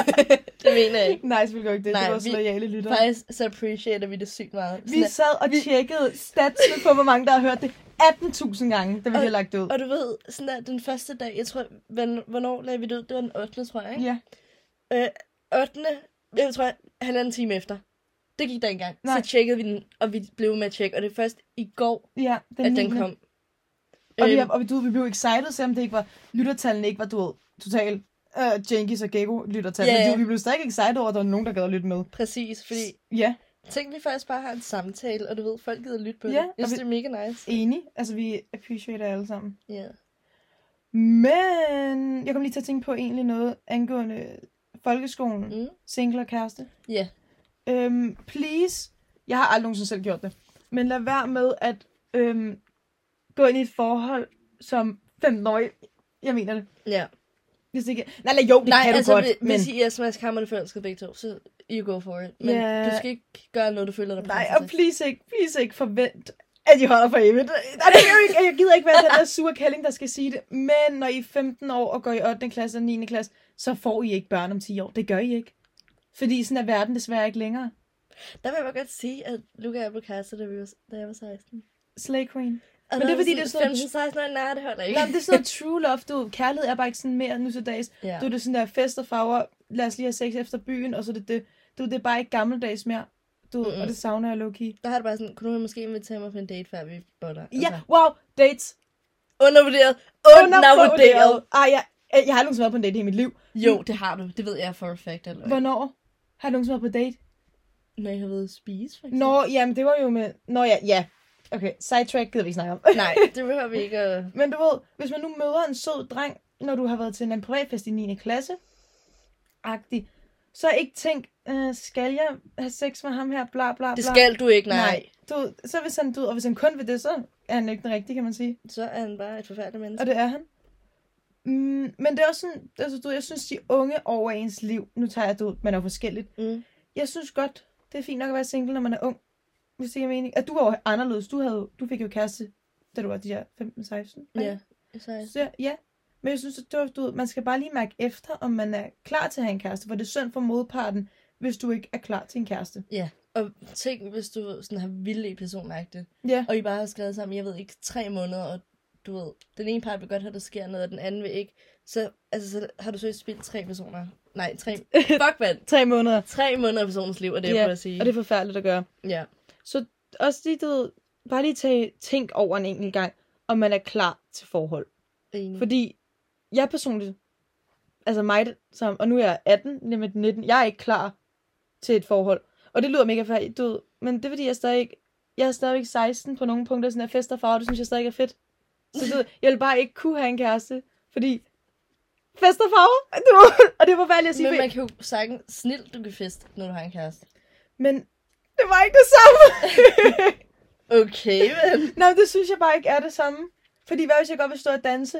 A: det mener jeg ikke.
B: Nej, selvfølgelig gør ikke det. Nej,
A: Nej,
B: det var også
A: vi-
B: lojale lytter.
A: Faktisk så appreciater vi det sygt meget.
B: Vi
A: Sådan,
B: sad og tjekkede statsene på, hvor mange der har hørt det 18.000 gange, da vi
A: Og-
B: har lagt det ud.
A: at- og du ved, sådan der, den første dag, jeg tror, hvorn- hvornår lagde vi det ud? Det var den 8. tror jeg, ikke?
B: Ja.
A: Øh, 8. Jeg tror, halvanden time efter. Det gik der ikke engang.
B: Nej.
A: Så tjekkede vi den, og vi blev med at tjekke. Og det er først i går,
B: Ja,
A: at
B: den,
A: den
B: niende.
A: kom.
B: Og, vi,
A: Øhm,
B: har- og vi, du, ved, vi blev excited, selvom det ikke var, lyttertallene ikke var, du ved, totalt øh, Jenkins og Gekko lyttertal.
A: Ja,
B: Men
A: ja.
B: du- vi blev stadig excited over, at der var nogen, der gad at lytte med.
A: Præcis, fordi
B: Ja,
A: tænk, vi faktisk bare har en samtale, og du ved, folk gider lytte på
B: Ja,
A: det.
B: og
A: Jeg synes,
B: vi-
A: det er mega nice.
B: enig. Altså, vi appreciater alle sammen.
A: Ja.
B: Men jeg kom lige til at tænke på egentlig noget angående folkeskolen, mm.
A: Mm.
B: single og kæreste.
A: Ja.
B: Øhm, please, jeg har aldrig nogensinde selv gjort det, men lad være med at øhm, gå ind i et forhold som 15-årig. Jeg mener det.
A: Ja.
B: Hvis ikke... Nej, eller jo, det
A: Nej,
B: kan
A: altså,
B: du godt,
A: hvis,
B: men...
A: hvis I er smaskammerne forelskede begge to, så you go for it. Men
B: Ja.
A: du skal ikke gøre noget, du føler dig
B: Nej,
A: presset
B: og
A: til.
B: please ikke, please ikke forvent, at I holder for evigt. Nej, det er jo ikke, jeg gider ikke være den der sure kælling, der skal sige det. Men når I er 15 år og går i 8. klasse og 9. klasse, så får I ikke børn om 10 år. Det gør I ikke. Fordi sådan er verden desværre ikke længere.
A: Der vil jeg bare godt sige, at Luca jeg blev kærester, da, vi var, da jeg var 16.
B: Slay Queen.
A: Og
B: Men det er fordi, det er sådan-
A: 15-16 år, nej, det holder ikke.
B: Nej, men det er sådan
A: (laughs)
B: noget true love, du ved. Kærlighed er bare ikke sådan mere nu til dags.
A: ja.
B: Du er det sådan der fest og farver, lad os lige have sex efter byen, og så er det det. Du, det er bare ikke gammeldags mere. Du, mm-hmm.
A: Mm-mm.
B: Og det savner jeg low-key.
A: Der har det bare sådan, kunne du måske invitere mig på en date, før vi boller?
B: Ja, wow, dates.
A: Undervurderet. Undervurderet.
B: Undervurderet. Ej, jeg, jeg har aldrig nogensinde været på en date i hele mit liv.
A: Jo, det har du. Det ved jeg for a fact. Eller Hvor...
B: Hvornår har du nogensinde været på date?
A: Når jeg har været ude at spise, for eksempel.
B: Nå, jamen det var jo med... Nå ja, ja. Okay, sidetrack gider vi ikke snakke om. (laughs)
A: Nej, det behøver vi ikke at...
B: Men du ved, hvis man nu møder en sød dreng, når du har været til en eller anden privatfest i 9. klasse, agtig, så ikke tænk, øh, skal jeg have sex med ham her, bla bla bla.
A: Det skal du ikke, nej. nej.
B: Nej. Du, så hvis han, du, og hvis han kun vil det, så er han jo ikke den rigtige, kan man sige.
A: Så er han bare et forfærdeligt menneske.
B: Og det er han. Mm, men det er også sådan, altså, du, ved, jeg synes, de unge over ens liv, nu tager jeg det ud, man er jo forskelligt.
A: Mm.
B: Jeg synes godt, det er fint nok at være single, når man er ung. Hvis det giver mening. At du var jo anderledes. Du, havde, du fik jo kæreste, da du var de der 15-16. ikke?
A: Ja. Så er jeg-
B: Så, ja. Men jeg synes, at det var, du ved, man skal bare lige mærke efter, om man er klar til at have en kæreste. For det er synd for modparten, hvis du ikke er klar til en kæreste.
A: Ja. Og tænk, hvis du sådan har vildt i personagtigt,
B: Ja.
A: og I bare har skrevet sammen, jeg ved ikke, tre måneder, og du ved, den ene part vil godt have, der sker noget, og den anden vil ikke, så, altså, så har du så spildt tre personer. Nej,
B: (laughs)
A: tre... Fuck, mand.
B: Tre måneder.
A: Tre måneder af personens liv, og det er
B: Ja,
A: yeah. at sige.
B: Og det er forfærdeligt at gøre.
A: Ja.
B: Så også lige, du ved, bare lige tage, tænk over en enkelt gang, om man er klar til forhold.
A: Enig.
B: Fordi jeg personligt, altså mig, som, og nu er jeg 18, lige med 19, jeg er ikke klar til et forhold. Og det lyder mega færdigt, du ved, men det er fordi, jeg stadig ikke, jeg er stadigvæk 16 på nogle punkter, sådan der fest og farver, det synes jeg stadig er fedt. Så du ved, jeg vil bare ikke kunne have en kæreste, fordi fest og farver, du ved, (laughs) og det er forfærdeligt at sige,
A: Men man kan jo sagtens snilt, du kan feste, når du har en kæreste.
B: men det var ikke det samme. (laughs)
A: Okay, (laughs) men.
B: Nej, det synes jeg bare ikke er det samme. Fordi hvad hvis jeg godt vil stå og danse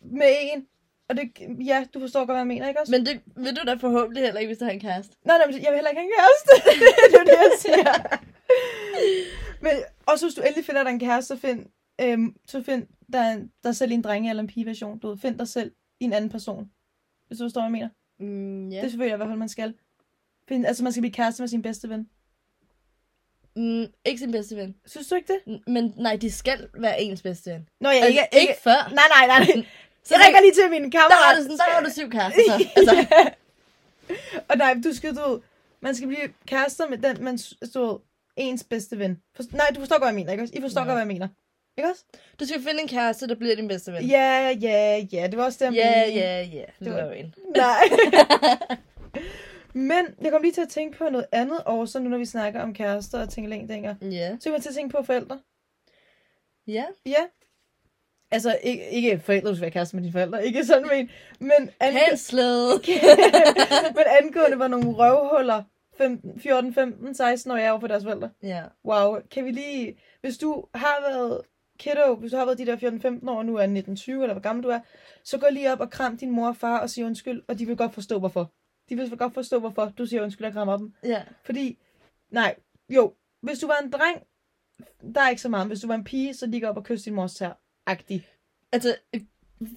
B: med en? Og det, ja, du forstår godt, hvad jeg mener, ikke også?
A: Men det vil du da forhåbentlig heller ikke, hvis du har en kæreste.
B: Nej, nej, men jeg vil heller ikke have en kæreste. (laughs) det er det, jeg siger. men også hvis du endelig finder dig en kæreste, så find, øhm, så find dig, dig selv i en drenge- eller en pige-version. Du ved, find dig selv i en anden person. Hvis du forstår, hvad jeg mener.
A: Mm,
B: Ja.
A: ja.
B: Det føler jeg i hvert fald, man skal. Find, altså, man skal blive kæreste med sin bedste ven.
A: Mm, ikke sin bedste ven.
B: Synes du ikke det?
A: N- Men nej, de skal være ens bedste ven.
B: Nå, jeg
A: Altså,
B: ikke, ikke, ikke.
A: før.
B: Nej, nej, nej. nej.
A: (laughs) Så
B: Så jeg
A: der,
B: rækker lige til min kammerat.
A: der, var du sådan, der var du syv kærester. Så.
B: (laughs)
A: Altså,
B: Og nej, du skal, du ved, man skal blive kærester med den, man s- du ved, ens bedste ven. Forst- nej, du forstår godt, hvad jeg mener, ikke også? I forstår
A: Ja.
B: godt, hvad jeg mener. Ikke også?
A: du skal finde en kæreste, der bliver din bedste ven.
B: Ja, ja, ja, det var også det, jeg
A: ja,
B: mente.
A: ja. ja. Det
B: Det
A: var
B: var-
A: jo en.
B: (laughs) Nej. Men jeg kom lige til at tænke på noget andet over, så nu når vi snakker om kærester og tænkelængdænger.
A: Ja.
B: Så kom jeg til at tænke på forældre.
A: Ja.
B: Ja. Altså, ikke, ikke forældre, du skal være kærester med dine forældre. Ikke sådan, men... Men, ange-
A: (laughs)
B: (laughs)
A: Hanslede.
B: men angående var nogle røvhuller 15, 14, 15, 16 år, jeg var for deres forældre.
A: Ja.
B: Wow, kan vi lige... Hvis du har været kiddo, hvis du har været de der 14-15 år, og nu er 19-20, eller hvor gammel du er, så gå lige op og kram din mor og far og sig undskyld, og de vil godt forstå, hvorfor. De vil godt forstå, hvorfor du siger undskyld og krammer dem.
A: Ja.
B: Fordi, nej, jo, hvis du var en dreng, der er ikke så meget. Hvis du var en pige, så lige gå op og kys din mors tær. Agtig.
A: Altså,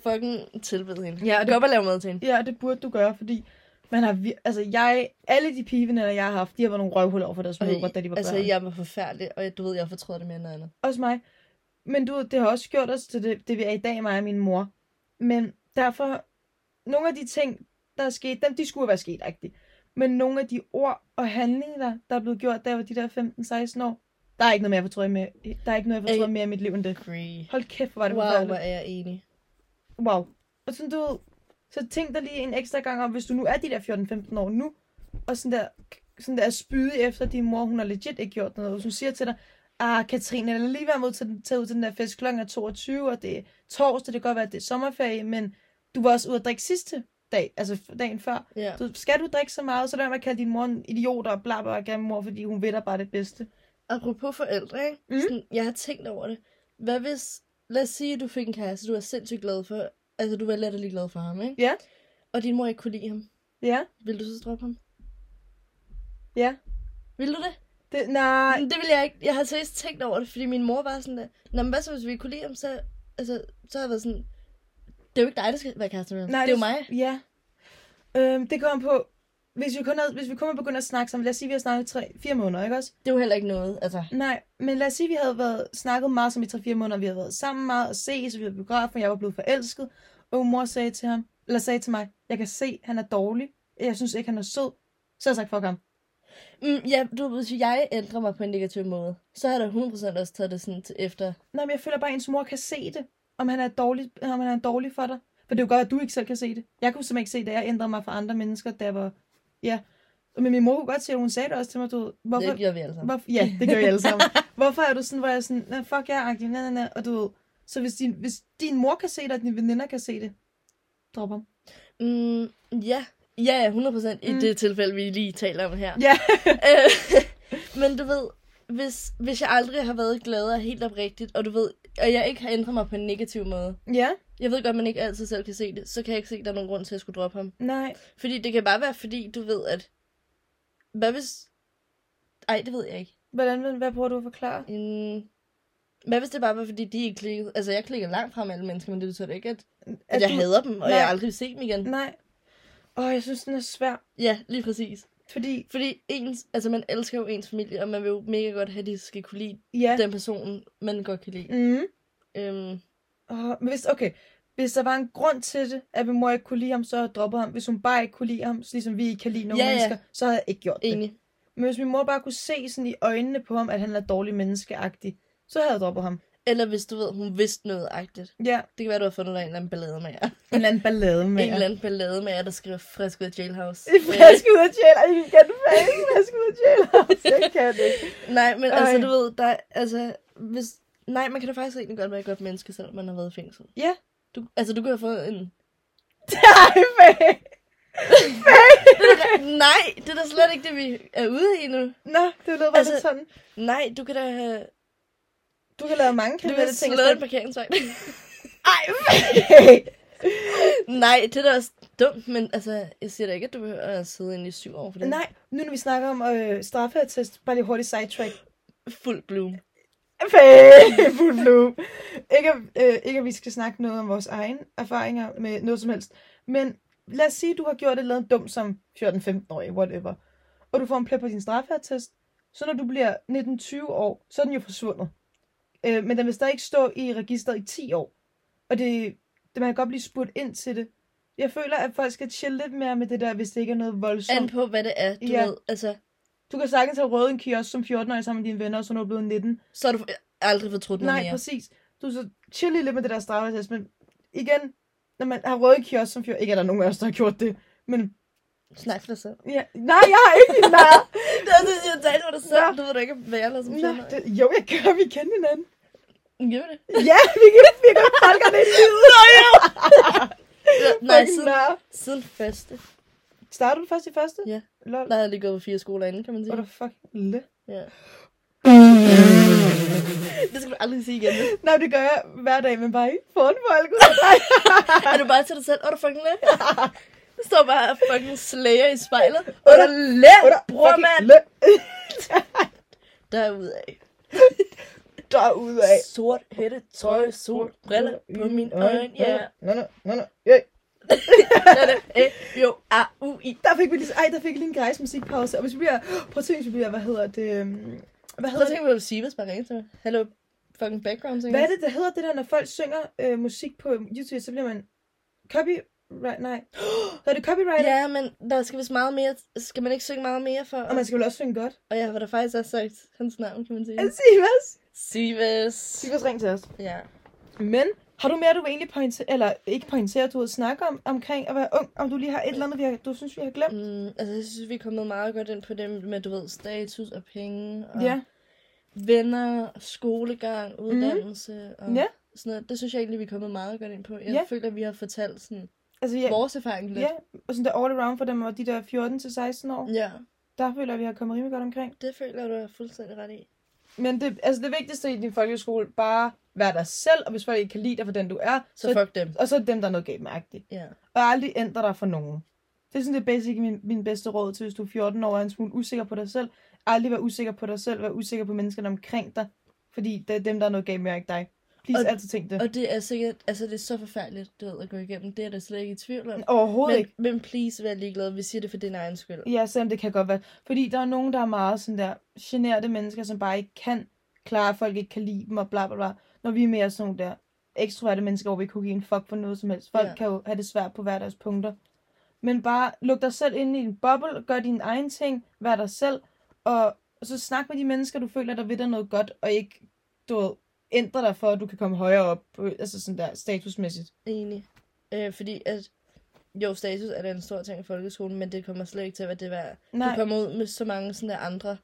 A: fucking tilbede hende.
B: Ja,
A: og det... Gå op og lave mad til hende.
B: Ja, og det burde du gøre, fordi man har, vir- altså jeg, alle de pigeveninder, jeg har haft, de har været nogle røvhuller over for deres mødre, da de var
A: altså,
B: børn.
A: jeg var forfærdelig, og jeg, du ved, jeg fortrød det mere end noget andet.
B: Også mig. Men du, ved, det har også gjort os til det, det, vi er i dag, mig og min mor. Men derfor, nogle af de ting, der er sket, dem, de skulle være sket, rigtigt. Men nogle af de ord og handlinger, der er blevet gjort, da jeg var de der 15-16 år, der er ikke noget mere, jeg fortrød med. Der er ikke noget, jeg fortrød
A: Ey.
B: mere i mit liv end det.
A: Agree.
B: Hold kæft, hvor var det
A: Wow, hvor
B: forfærdeligt.
A: er jeg enig.
B: Wow. Og sådan, du ved, så tænk dig lige en ekstra gang om, hvis du nu er de der 14-15 år nu, og sådan der, sådan der spyde efter din mor, hun har legit ikke gjort noget, hvis hun siger til dig, ah, Katrine, lad lige være med til den, tage ud til den der fest kl. 22, og det er torsdag, det kan godt være, at det er sommerferie, men du var også ude at drikke sidste dag, altså f- dagen før.
A: Ja.
B: Du, skal du drikke så meget, så lad være med at kalde din mor en idiot og bla bla bla, mor, fordi hun ved dig bare det bedste.
A: Apropos forældre, ikke? Mm.
B: Mm.
A: Sådan, jeg har tænkt over det. Hvad hvis, lad os sige, at du fik en kæreste, du er sindssygt glad for, altså du var latterlig glad for ham, ikke?
B: Ja.
A: Og din mor ikke kunne lide ham.
B: Ja,
A: Vil du så droppe ham?
B: ja.
A: Vil du det?
B: Det, nej.
A: Men det ville jeg ikke. Jeg havde seriøst tænkt over det, fordi min mor var sådan der. Nå, men hvad så, hvis vi kunne lide ham, så, altså, så har jeg været sådan... Det er jo ikke dig, der skal være kæreste med ham. Nej, det er jo mig.
B: Ja. Øhm, det kommer på, hvis vi kun havde, hvis vi kun havde begyndt at snakke sammen, lad os sige, vi har snakket i tre, fire måneder, ikke også?
A: Det er jo heller ikke noget, altså.
B: Nej, men lad os sige, vi havde været, snakket meget som i tre, fire måneder, vi havde været sammen meget og ses, og vi havde biografen, jeg var blevet forelsket, og mor sagde til ham, eller sagde til mig, jeg kan se, han er dårlig, jeg synes ikke, han er sød, så har jeg sagt, fuck ham.
A: Mm, ja, du ved, hvis jeg ændrer mig på en negativ måde, så har der 100% også taget det sådan til efter.
B: Nej, men jeg føler bare, at ens mor kan se det, om han er dårlig, om han er dårlig for dig. For det er jo godt, at du ikke selv kan se det. Jeg kunne simpelthen ikke se det, jeg ændrede mig fra andre mennesker, der var... Ja, men min mor kunne godt se, at hun sagde det også til mig, du ved, hvorfor...
A: Det gjorde vi alle sammen.
B: Hvorfor, ja, det gør jeg
A: (laughs)
B: alle sammen. Hvorfor er du sådan, hvor jeg er sådan, "Nå, fuck jer, agtig, na, na, na, og du ved, så hvis din, hvis din mor kan se det, og dine veninder kan se det, drop ham.
A: Mm, ja. ja, ja, 100% i
B: Mm.
A: mm. det tilfælde, vi lige taler om her.
B: Ja.
A: (laughs) Øh, (laughs) Men du ved, hvis, hvis jeg aldrig har været glad og helt oprigtigt, og du ved, og jeg ikke har ændret mig på en negativ måde,
B: ja,
A: jeg ved godt, at man ikke altid selv kan se det, så kan jeg ikke se, at der er nogen grund til, at jeg skulle droppe ham.
B: nej.
A: Fordi det kan bare være, fordi du ved, at... Hvad hvis... Ej, det ved jeg ikke.
B: Hvordan, hvad prøver du at forklare?
A: Mm. Hvad hvis det bare var, fordi de ikke klikkede? Altså, jeg klikker langt frem med alle mennesker, men det betyder da ikke, at, at jeg
B: du-
A: hader dem, og
B: Nej.
A: jeg aldrig vil se dem igen.
B: Nej. Åh, jeg synes, den er svær,
A: Ja, lige præcis.
B: fordi...
A: Fordi ens, altså, man elsker jo ens familie, og man vil jo mega godt have, at de skal kunne lide
B: Ja.
A: den person, man godt kan lide.
B: Mm.
A: Øhm,
B: Åh, men hvis, okay, hvis der var en grund til det, at min mor ikke kunne lide ham, så havde jeg droppet ham. Hvis hun bare ikke kunne lide ham, så ligesom vi ikke kan lide nogle
A: Ja, ja.
B: mennesker, så havde jeg ikke gjort det.
A: enig.
B: Men hvis min mor bare kunne se sådan i øjnene på ham, at han er dårlig menneskeagtig, så havde jeg droppet ham.
A: Eller hvis du ved, hun vidste noget agtigt.
B: Ja,
A: Det kan være, du har fundet dig en eller anden ballade med jer.
B: en eller anden ballade med
A: En eller anden ballade med jer, der skriver frisk ud af
B: (laughs)
A: jailhouse.
B: Frisk ud af jail, og I kan fandme ikke frisk ud af jail. Det kan det ikke.
A: Øh, nej, men altså,
B: Ej.
A: du ved, der, er- altså, hvis, nej, man kan da faktisk egentlig godt være et godt menneske, selvom man har været i fængsel.
B: Ja.
A: Du, altså, du kunne have fået en...
B: Nej, fag.
A: nej, det er da (laughs) slet ikke det, vi er ude i nu.
B: Nå, det lød bare
A: Altså,
B: altså, lidt sådan.
A: Nej, du kan da have...
B: Du kan lave mange
A: Du kan
B: kriminelle
A: have
B: ting.
A: slået en parkeringsvagt.
B: Ej, fag.
A: (laughs) nej, det er da også dumt, men altså, jeg siger da ikke, at du behøver at sidde inde i syv år for det.
B: Nej, nu når vi snakker om øh, straffeattest, bare lige hurtigt sidetrack.
A: Fuld bloom.
B: Fag, fuld loop. Ikke, at- øh, ikke at vi skal snakke noget om vores egen erfaringer med noget som helst. Men lad os sige, at du har gjort et eller andet dumt som 14-15-årig, whatever. Og du får en plet på din straffertest. Så når du bliver 19-20 år, så er den jo forsvundet. Øh, men den vil stadig ikke stå i registret i 10 år. Og det, det, man kan godt blive spurgt ind til det. Jeg føler, at folk skal chille lidt mere med det der, hvis det ikke er noget voldsomt.
A: An på, hvad det er, du
B: Ja.
A: ja. ved. Altså,
B: Du kan sagtens have røget en kiosk som 14-årig sammen med dine venner, og så når du er blevet 19.
A: så har du aldrig fortrudt noget
B: Nej,
A: mere.
B: præcis. Du er så chill lige lidt med det der straffetest, men igen, når man har røde kiosk som fjord, ikke er der nogen af os, der har gjort det, men
A: Snak for dig selv.
B: ja, nej, jeg har ikke din nej.
A: (laughs) Det er det, jeg talte med dig
B: selv.
A: Du ved da ikke, hvad jeg lader som
B: nej det, jo, jeg gør, vi kender hinanden.
A: Gør det?
B: Ja, vi kan vi kan godt folk det i livet. (laughs)
A: Nej,
B: Fucking
A: siden,
B: nar.
A: siden første.
B: Startede du først i første?
A: Ja.
B: Lol.
A: Der havde jeg lige gået på fire skoler inden, kan man sige.
B: What the fuck? Le.
A: Ja. Det skal du aldrig sige igen. vel?
B: Nej, det gør jeg hver dag, men bare ikke foran folk.
A: (laughs) Er du bare til dig selv? Åh, du fucking lærer. Du står bare og fucking slager i spejlet. Åh,
B: Åh,
A: du
B: der-
A: lærer,
B: Åh, der-
A: bror,
B: fucking
A: mand.
B: Le.
A: Derudaf.
B: (laughs) Derudad.
A: Sort hætte, tøj, sol, briller på mine øjne.
B: (laughs)
A: Ja,
B: Nå, nå, nå, nå. Ja,
A: det er det. Æ, jo, a, u, i.
B: Der fik vi lige, ej, der fik jeg lige en grejs musikpause. Og hvis vi bliver, prøv at tænke, hvis vi bliver, hvad hedder det? øhm, Hvad
A: Prøv
B: hedder
A: at
B: det?
A: tænke, hvad du siger, hvis man ringer til mig. Hello, fucking background singer.
B: Hvad er det, der hedder det der, når folk synger øh, musik på YouTube, så bliver man copyright, nej. (gasps) Hedder det copyright?
A: Ja, men der skal vist meget mere. Skal man ikke synge meget mere for?
B: Og man skal vel også synge godt. Altså,
A: Og jeg har da faktisk også sagt hans navn, kan man sige.
B: Sivas.
A: Sives.
B: Sivas, ring til os.
A: Ja.
B: Men har du mere, du vil egentlig pointere, eller ikke pointere, du vil snakke om, omkring at være ung, om du lige har et eller andet, vi har, du synes, vi har glemt?
A: Mm, altså, jeg synes, vi er kommet meget godt ind på det med, du ved, status og penge. Og
B: Ja. Mm.
A: Venner, skolegang, uddannelse og
B: Ja.
A: sådan noget. Det synes jeg egentlig, vi er kommet meget godt ind på. Jeg
B: Ja.
A: føler, at vi har fortalt sådan,
B: Altså,
A: ja.
B: ja,
A: vores erfaring lidt. Mm.
B: ja, og sådan der all around for dem, og de der 14-16 år,
A: ja.
B: der føler jeg, vi har kommet rimelig godt omkring.
A: Det føler jeg, du er fuldstændig ret i.
B: Men det, altså det vigtigste i din folkeskole, bare vær dig selv, og hvis folk ikke kan lide dig for den du er,
A: Så fuck dem.
B: og så er dem, der er noget galt med agtigt.
A: Ja.
B: Og aldrig ændre dig for nogen. Det er sådan det basic min, min bedste råd til, hvis du er 14 år og er en smule usikker på dig selv, aldrig være usikker på dig selv, være usikker på menneskerne omkring dig, fordi det er dem, der er noget galt med, og ikke dig. Please,
A: Og-
B: altid tænk det.
A: Og det er sikkert, altså det er så forfærdeligt, du ved, at gå igennem. Det er der slet ikke i tvivl om.
B: Overhovedet ikke.
A: Men, men please, vær ligeglad. Vi siger det for din egen skyld.
B: Ja, selvom det kan godt være. Fordi der er nogen, der er meget sådan der generede mennesker, som bare ikke kan klare, at folk ikke kan lide dem og bla bla bla. Når vi er mere sådan nogle der ekstroverte mennesker, hvor vi ikke kunne give en fuck for noget som helst. Folk
A: Ja.
B: ja. kan jo have det svært på hver deres punkter. Men bare luk dig selv ind i en boble, gør dine egne ting, vær dig selv, og så snak med de mennesker, du føler, der ved dig noget godt, og ikke du ved, ændre dig for, at du kan komme højere op, øh, altså sådan der statusmæssigt.
A: Enig. Øh, fordi at, jo, status er da en stor ting i folkeskolen, men det kommer slet ikke til at være det værd. Du
B: Nej.
A: kommer ud med så mange sådan der andre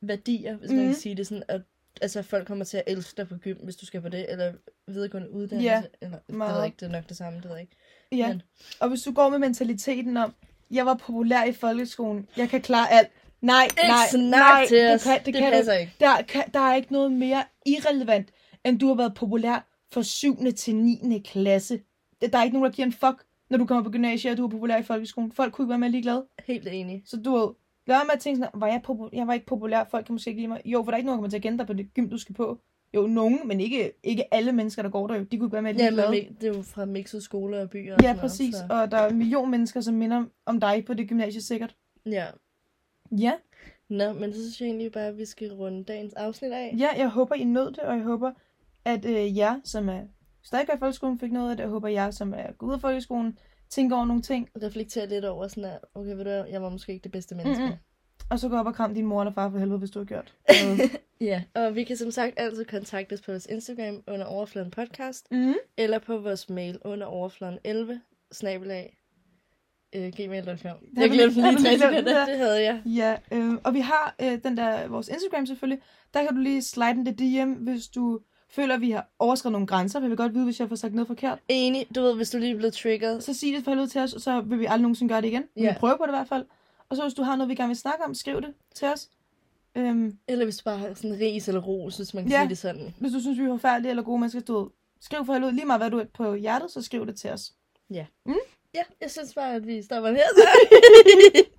A: værdier, hvis mm. man
B: Mhm.
A: kan sige det sådan, at altså, folk kommer til at elske dig på gym, hvis du skal på det, eller videregående uddannelse,
B: Ja,
A: eller det ved
B: meget.
A: jeg ikke, det er nok det samme, det ved jeg ikke.
B: Ja,
A: Men-
B: men... og hvis du går med mentaliteten om, jeg var populær i folkeskolen, jeg kan klare alt. Nej,
A: Ikke
B: nej,
A: snak
B: nej,
A: til
B: det
A: os.
B: kan, det,
A: Det
B: kan
A: passer
B: du.
A: ikke.
B: Der, kan, der er ikke noget mere irrelevant, end du har været populær fra 7. til 9. klasse. Det- Der er ikke nogen, der giver en fuck, når du kommer på gymnasiet, og du er populær i folkeskolen. Folk kunne ikke være med ligeglade.
A: Helt enig.
B: Så du ved, lad være med at tænke sådan, var jeg, populær? jeg var ikke populær, folk kan måske ikke lide mig. Jo, for der er ikke nogen, der kommer til at kende dig på det gym, du skal på. Jo, nogen, men ikke, ikke alle mennesker, der går der jo. De kunne ikke være med
A: Ja,
B: ligeglade.
A: men mi- det er jo fra mixede skoler og byer. og
B: Ja,
A: sådan noget,
B: præcis.
A: så-
B: Og der er en million mennesker, som minder om dig på det gymnasie sikkert.
A: Ja.
B: Ja,
A: Nå, men så synes jeg egentlig bare, at vi skal runde dagens afsnit af.
B: ja jeg håber, I nød det, og jeg håber, at øh, jer, som er stadig i folkeskolen, fik noget af det. Jeg håber, at jer, som er gået ud af folkeskolen, tænker over nogle ting,
A: Reflektere lidt over sådan her, okay, ved du hvad, jeg var måske ikke det bedste menneske.
B: Mm-mm. og så gå op og kram din mor eller far for helvede, hvis du har
A: (laughs)
B: gjort.
A: Ja, og vi kan som sagt altid kontaktes på vores Instagram under overfladen podcast,
B: mm.
A: eller på vores mail under overfladen 11, snabelag, øh, gmail.com.
B: vi
A: Jeg glemte den lige i
B: glemt.
A: tre
B: Det havde vi
A: sekunder,
B: glemt.
A: det havde jeg.
B: Ja, øh, og vi har øh, den der, vores Instagram selvfølgelig. Der kan du lige slide en det DM, hvis du føler, at vi har overskrevet nogle grænser. for Jeg vil godt vide, hvis jeg får sagt noget forkert.
A: Enig, du ved, hvis du lige er blevet triggeret,
B: så sig det for helvede til os, og så vil vi aldrig nogensinde gøre det igen. Vi
A: Ja.
B: vil prøve på det i hvert fald. Og så hvis du har noget, vi gerne vil snakke om, skriv det til os. Øhm,
A: eller hvis du bare har sådan ris eller ros, hvis man kan
B: Ja.
A: sige det sådan.
B: hvis du synes, vi er forfærdelige eller gode mennesker, du ved, skriv for helvede lige meget, hvad du er på hjertet, så skriv det til os.
A: Ja.
B: Mm. (laughs)
A: Ja, jeg synes bare, at vi stopper her. Så.